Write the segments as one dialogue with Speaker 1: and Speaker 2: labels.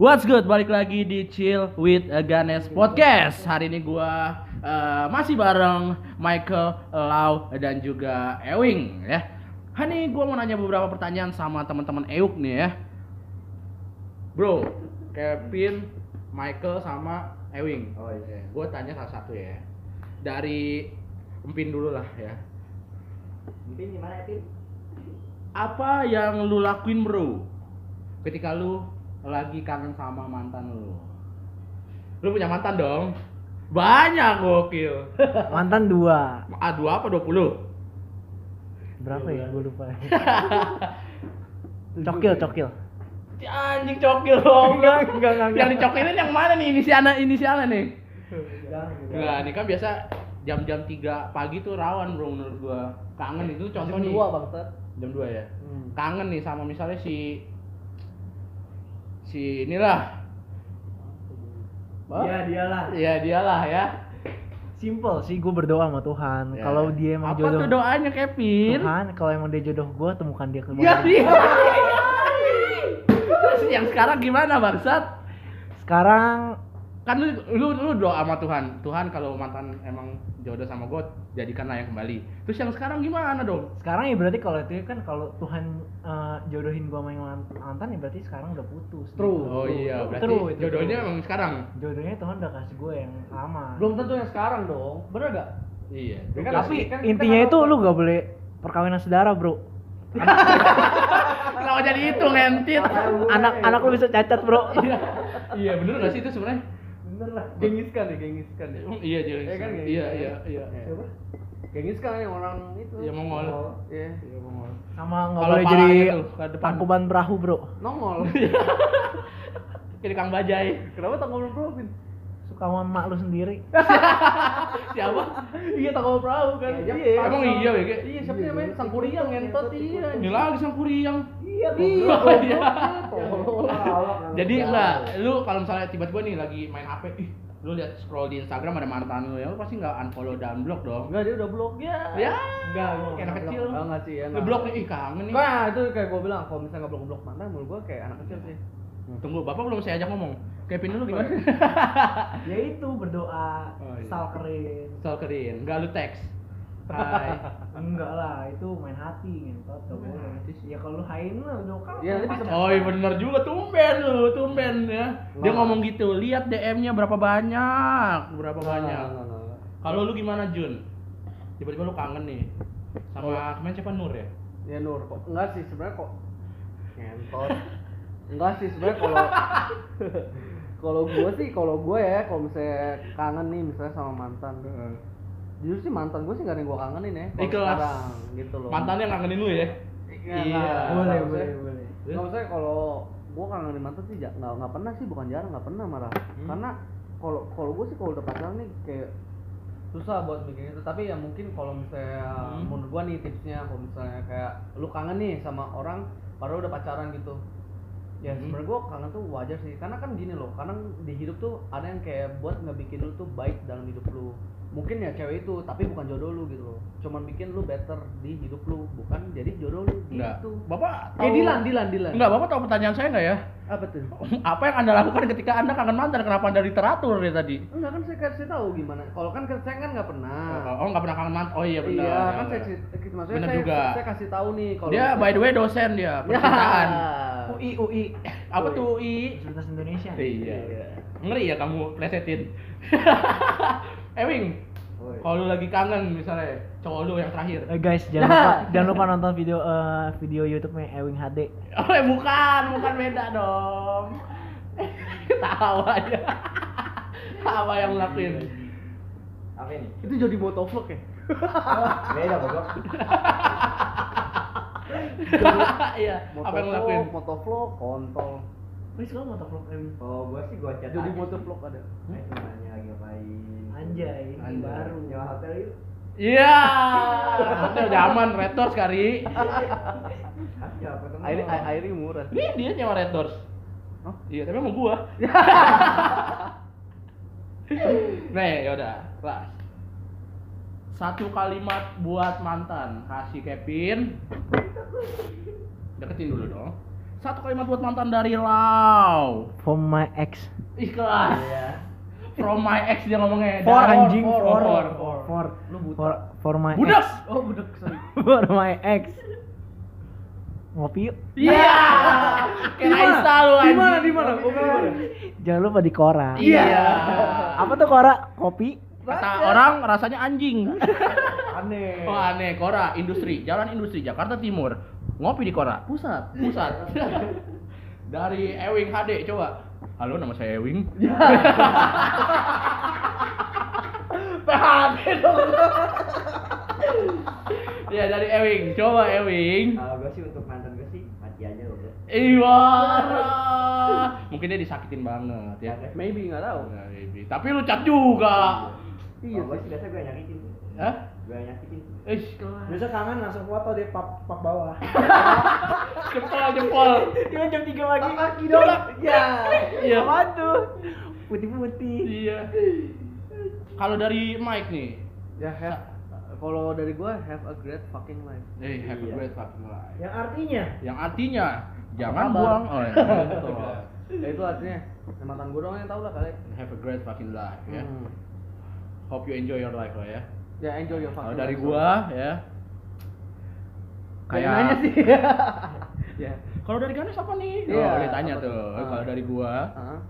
Speaker 1: What's good? Balik lagi di Chill with uh, Ganes Podcast. Hari ini gua eh, masih bareng Michael Lau dan juga Ewing ya. Hani gua mau nanya beberapa pertanyaan sama teman-teman Euk nih ya. Bro, Kevin, Michael sama Ewing.
Speaker 2: Oh iya.
Speaker 1: Gue tanya salah satu ya. Dari Empin dulu lah ya.
Speaker 2: Pin gimana ya Pin?
Speaker 1: Apa yang lu lakuin bro? Ketika lu lagi kangen sama mantan lu. Lu punya mantan dong? Banyak gokil.
Speaker 3: Mantan dua.
Speaker 1: A2 apa 20?
Speaker 3: Berapa ya? Gue lupa. cokil, cokil.
Speaker 1: Si Anjing cokil dong.
Speaker 3: Enggak, enggak, enggak, enggak.
Speaker 1: Yang dicokilin yang mana nih inisialnya inisialnya nih? Enggak, ini kan biasa jam-jam 3 pagi tuh rawan bro menurut gua. Kangen itu contoh nih.
Speaker 3: bangsat.
Speaker 1: Jam 2 ya. kangen nih sama misalnya si si inilah
Speaker 2: Iya dialah.
Speaker 1: ya dialah ya
Speaker 3: Simple sih, gue berdoa sama Tuhan.
Speaker 1: Ya.
Speaker 3: Kalau dia emang
Speaker 1: apa
Speaker 3: jodoh
Speaker 1: tuh doanya Kevin
Speaker 3: Tuhan, kalau emang dia jodoh gue, temukan dia kembali.
Speaker 1: ya iya terus yang sekarang gimana bangsat
Speaker 3: Sekarang
Speaker 1: kan lu, lu lu doa sama Tuhan Tuhan kalau mantan emang jodoh sama gue jadikanlah yang kembali terus yang sekarang gimana dong
Speaker 3: sekarang ya berarti kalau itu kan kalau Tuhan eh, jodohin gue sama yang man- mantan ya berarti sekarang udah putus.
Speaker 2: True.
Speaker 1: oh iya berarti
Speaker 3: True, itu
Speaker 1: jodohnya
Speaker 3: true.
Speaker 1: emang sekarang
Speaker 3: Jodohnya Tuhan udah kasih gue yang lama.
Speaker 2: Belum tentu yang sekarang dong. Bener gak?
Speaker 1: iya
Speaker 2: Ya kan,
Speaker 3: Tapi
Speaker 2: kan kita
Speaker 3: intinya
Speaker 2: nggak
Speaker 3: itu
Speaker 2: tahu.
Speaker 3: lu gak boleh perkawinan saudara, Bro.
Speaker 1: kalau jadi itu ngentit
Speaker 3: Anak anak lu bisa cacat, Bro.
Speaker 1: iya bener gak sih itu sebenarnya
Speaker 2: Bener lah. Gengis kan ya, gengis kan ya.
Speaker 1: iya jadi
Speaker 2: Iya kan, kayak
Speaker 1: iya
Speaker 2: gitu.
Speaker 1: iya iya
Speaker 2: Siapa? Gengis kan yang orang itu.
Speaker 1: Iya, Mongol.
Speaker 2: Iya.
Speaker 3: Sama nggak
Speaker 1: Kalau
Speaker 3: boleh jadi
Speaker 1: palanya tuh, ke depan.
Speaker 3: tangkuban perahu, Bro.
Speaker 2: Nongol.
Speaker 1: Iya. Jadi Kang Bajai.
Speaker 2: Kenapa tanggal perahu Pin?
Speaker 3: Suka sama emak lu sendiri.
Speaker 1: Siapa?
Speaker 2: Iya tanggal perahu kan.
Speaker 1: Iya, emang iya ya, kayak-
Speaker 2: Iya siapa namanya? Sang Kuriang ngentot iya.
Speaker 1: Ini lagi sang Kuriang.
Speaker 2: Iya
Speaker 1: Iya.
Speaker 2: iya.
Speaker 1: Jadi lah, lu kalau misalnya tiba-tiba nih lagi main HP, ih, lu lihat scroll di Instagram ada mantan lu ya, lu pasti nggak unfollow dan block dong.
Speaker 2: Enggak dia udah blok ya.
Speaker 1: Ya,
Speaker 2: Enggak, gua
Speaker 1: Kayak anak
Speaker 2: nggak
Speaker 1: kecil.
Speaker 2: blok. Oh, nggak sih, ya.
Speaker 1: lu
Speaker 2: nggak.
Speaker 1: block nih, ih kangen nih.
Speaker 2: Nah, itu kayak gue bilang kalau misalnya nggak blok-blok mantan menurut gue kayak anak kecil sih.
Speaker 1: Hmm, Tunggu, bapak belum saya ajak ngomong. Kevin dulu gimana?
Speaker 3: ya itu berdoa
Speaker 1: Oh, iya.
Speaker 3: stalkerin
Speaker 1: Stalkerin, nggak lu teks. Hai.
Speaker 3: enggak lah itu main hati ngentot gak boleh ya kalau lu hain lah berdoa kan
Speaker 2: Iya, nanti bisa
Speaker 1: Oh iya bener juga, tumben lu, tumben ya. Dia
Speaker 2: Wah.
Speaker 1: ngomong gitu, lihat DM-nya berapa banyak, berapa banyak.
Speaker 2: Nggak, nggak, nggak.
Speaker 1: Kalau lu gimana Jun? Tiba-tiba lu kangen nih sama kemarin siapa Nur ya?
Speaker 2: Ya Nur, kok enggak sih sebenarnya kok ngentot. Enggak sih sebenarnya kalau kalau gue sih kalau gue ya kalau misalnya kangen nih misalnya sama mantan jujur sih mantan gue sih gak ada yang gue kangenin ya kalau
Speaker 1: Ikhlas.
Speaker 2: sekarang gitu loh
Speaker 1: Mantannya kangenin lu ya? Iya.
Speaker 2: Iya,
Speaker 3: boleh
Speaker 2: nggak, nggak,
Speaker 3: boleh
Speaker 2: maksudnya-
Speaker 3: boleh
Speaker 2: nggak maksudnya kalau gue kangenin mantan sih ja- nggak nggak pernah sih bukan jarang nggak pernah marah karena kalau kalau gue sih kalau udah pacaran nih kayak susah buat bikin itu tapi ya mungkin kalau misalnya
Speaker 1: Hmm.
Speaker 2: menurut gua nih tipsnya kalau misalnya kayak lu kangen nih sama orang baru udah pacaran gitu ya
Speaker 1: Hmm.
Speaker 2: sebenarnya gua kangen tuh wajar sih karena kan gini loh karena di hidup tuh ada yang kayak buat ngebikin lu tuh baik dalam hidup lu mungkin ya cewek itu tapi bukan jodoh lu gitu loh cuman bikin lu better di hidup lu bukan jadi jodoh lu
Speaker 1: Enggak.
Speaker 2: gitu
Speaker 1: Bapak
Speaker 2: eh
Speaker 1: tahu
Speaker 2: Dilan Dilan Dilan
Speaker 1: Oh. Enggak, Bapak tahu pertanyaan saya enggak ya?
Speaker 2: apa tuh
Speaker 1: Apa yang Anda lakukan ketika Anda kangen mantan? Kenapa Anda literatur ya tadi?
Speaker 2: enggak kan saya kasih tahu gimana kalau kan saya kan nggak pernah
Speaker 1: Oh, enggak pernah kangen mantan. Oh iya benar.
Speaker 2: iya,
Speaker 1: Iya,
Speaker 2: kan saya
Speaker 1: benar.
Speaker 2: cerita, maksudnya
Speaker 1: Bener
Speaker 2: saya,
Speaker 1: juga.
Speaker 2: saya kasih tahu nih kalau gitu.
Speaker 1: Dia by the way dosen dia,
Speaker 2: Ya.
Speaker 1: percintaan. UI UI. Apa tuh UI?
Speaker 3: Universitas Indonesia
Speaker 1: Iya. Ngeri ya kamu plesetin. Ewing, kalau lu lagi kangen misalnya cowok lu yang terakhir.
Speaker 3: Eh, guys jangan lupa jangan lupa nonton video eh, video YouTube nya Ewing HD
Speaker 1: Oh, eh, bukan, bukan beda dong. Tawa aja. Apa yang ngelakuin?
Speaker 4: apa ini?
Speaker 2: itu jadi motovlog ya
Speaker 4: Beda goblok.
Speaker 1: Iya, apa yang ngelakuin?
Speaker 2: motovlog kontol
Speaker 3: Wih, sekarang mau tolong Ewing
Speaker 4: Oh, gua sih gua chat.
Speaker 1: Ah.
Speaker 2: jadi
Speaker 4: Adi.
Speaker 2: motovlog ada
Speaker 4: Eh, temannya lagi ngapain?
Speaker 3: Anjay, ini
Speaker 4: Anjay.
Speaker 3: baru.
Speaker 4: Nyewa hotel yuk.
Speaker 1: Iya. Hotel zaman Red Doors kali.
Speaker 4: Hah, siapa teman?
Speaker 2: airi airi murah
Speaker 1: Ini dia nyewa Red Doors.
Speaker 2: Hah?
Speaker 1: Iya, tapi mau gua. Nih, yaudah, kelas. ya Satu kalimat buat mantan. Kasih Kevin. Deketin dulu dong. Satu kalimat buat mantan dari Lau.
Speaker 3: From my ex.
Speaker 1: Ikhlas.
Speaker 4: Iya.
Speaker 1: From my ex dia ngomongnya.
Speaker 3: For
Speaker 1: Dari-
Speaker 3: anjing,
Speaker 1: for,
Speaker 3: for,
Speaker 1: for, for.
Speaker 3: for,
Speaker 1: Lu buta.
Speaker 3: for, for my
Speaker 1: Budak.
Speaker 3: ex.
Speaker 1: Oh, budak. Sorry.
Speaker 3: For my ex. Ngopi yuk.
Speaker 1: Iya. Kena insta lu anjing.
Speaker 2: Di mana? Di mana?
Speaker 1: Kopi di mana?
Speaker 3: Jangan lupa di Kora.
Speaker 1: Iya.
Speaker 3: Apa tuh Kora? Kopi.
Speaker 1: Kata orang rasanya anjing.
Speaker 4: Aneh.
Speaker 1: Oh aneh, Kora, industri, Jalan Industri Jakarta Timur. Ngopi di Kora, pusat, pusat. Dari Ewing HD coba. Halo, nama saya Ewing. PHD dong. ya dari Ewing, coba Ewing.
Speaker 4: Kalau gue sih untuk mantan gue sih mati aja loh.
Speaker 1: Iwara. Mungkin dia disakitin banget ya.
Speaker 2: Maybe nggak tahu.
Speaker 1: Nah, baby. Tapi lu cat juga.
Speaker 2: Iya
Speaker 4: Iya. Gue
Speaker 2: sih.
Speaker 4: sih biasa gue nyakitin.
Speaker 1: Ah. Hah?
Speaker 4: Gue nyakitin.
Speaker 1: Ish,
Speaker 4: Biasa kangen langsung foto dia pap pap bawah.
Speaker 1: jempol jempol.
Speaker 3: Cuma jam 3 pagi.
Speaker 4: kaki dong. Ya.
Speaker 1: Iya.
Speaker 3: Apaan tuh? Putih-putih.
Speaker 1: Iya. Kalau dari Mike nih,
Speaker 2: Ya have. Kalau dari gua have a great fucking life.
Speaker 1: eh have a
Speaker 4: Iya.
Speaker 1: great fucking life.
Speaker 4: Yang artinya
Speaker 1: Yang artinya jangan
Speaker 2: kabar?
Speaker 1: buang oh, ya.
Speaker 2: Betul. ya itu artinya ya, mantan gua doang yang tahu lah kali.
Speaker 1: have a great fucking life ya.
Speaker 2: Hmm.
Speaker 1: Hope you enjoy your life lah ya.
Speaker 2: Ya enjoy your
Speaker 1: Kalau
Speaker 2: fucking
Speaker 1: dari
Speaker 2: life.
Speaker 1: gua ya
Speaker 2: Kayak nanya
Speaker 1: kayak
Speaker 2: sih. ya.
Speaker 1: kalau dari Ganes apa nih?
Speaker 2: Iya,
Speaker 1: oh, dia tanya
Speaker 2: apa
Speaker 1: tuh.
Speaker 2: tuh? Ah.
Speaker 1: Kalau dari gua
Speaker 2: Heeh.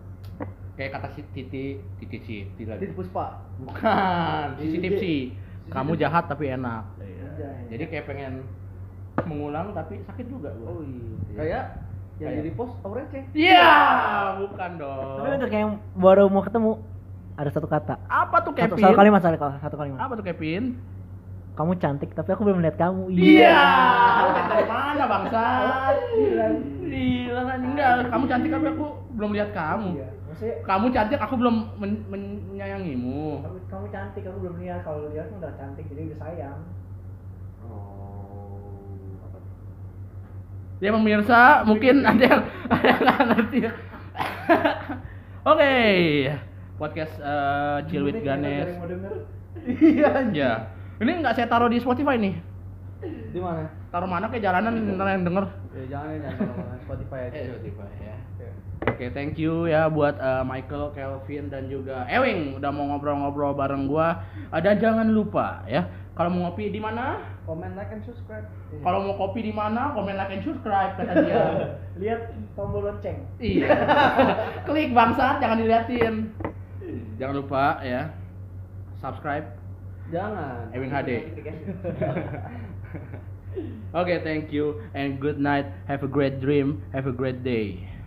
Speaker 1: kayak kata si Titi, Titi Titi lagi.
Speaker 2: Titik puspa.
Speaker 1: Bukan, CCTV. Kamu jahat tapi enak.
Speaker 2: Iya.
Speaker 4: Anjay.
Speaker 1: Jadi kayak pengen mengulang tapi sakit juga gua.
Speaker 2: Oh iya.
Speaker 1: Iya.
Speaker 2: Kayak yang
Speaker 1: Kayak.
Speaker 2: jadi post orang receh.
Speaker 1: Iya, bukan
Speaker 3: Tapi
Speaker 1: dong.
Speaker 3: untuk yang baru mau ketemu ada satu kata.
Speaker 1: Apa tuh
Speaker 3: Satu,
Speaker 1: Kevin?
Speaker 3: satu kalimat, satu kalimat, satu kalimat.
Speaker 1: Apa tuh Kevin?
Speaker 3: Kamu cantik, tapi aku belum melihat kamu.
Speaker 4: Iya.
Speaker 3: Iya.
Speaker 1: Dari mana bangsa? Gila, anjing. enggak. Kamu cantik tapi aku belum lihat kamu.
Speaker 4: Iya. Maksudnya
Speaker 1: Kamu cantik, aku belum men- menyayangimu.
Speaker 4: kamu, kamu cantik, kamu belum lihat. Kalau lihat kan udah cantik, jadi udah sayang.
Speaker 2: Oh. Apa tuh?
Speaker 1: Ya pemirsa, mungkin
Speaker 3: Iya.
Speaker 1: ada yang ada yang nggak ngerti. Oke, podcast eh, Chill with Ganes.
Speaker 2: Iya.
Speaker 1: Ya, ini nggak saya taruh di Spotify nih.
Speaker 2: Di mana?
Speaker 1: Taruh mana ke
Speaker 3: Iya.
Speaker 1: jalanan ntar yang denger.
Speaker 2: Ya jangan ya jangan sama Spotify aja.
Speaker 1: Spotify ya.
Speaker 2: Ya.
Speaker 1: Oke, thank you ya buat eh, Michael, Kelvin dan juga Ewing udah mau ngobrol-ngobrol bareng gua. Eh, Dan jangan lupa ya, kalau mau ngopi di mana?
Speaker 2: Comment, like, and subscribe.
Speaker 1: Kalau mau kopi di mana? Komen like and subscribe kata dia.
Speaker 4: Lihat
Speaker 3: Hmm.
Speaker 4: tombol lonceng.
Speaker 1: iya. Klik bangsat, jangan diliatin. Jangan lupa ya subscribe
Speaker 2: jangan.
Speaker 1: Ewing HD. Oke, thank you and good night. Have a great dream. Have a great day.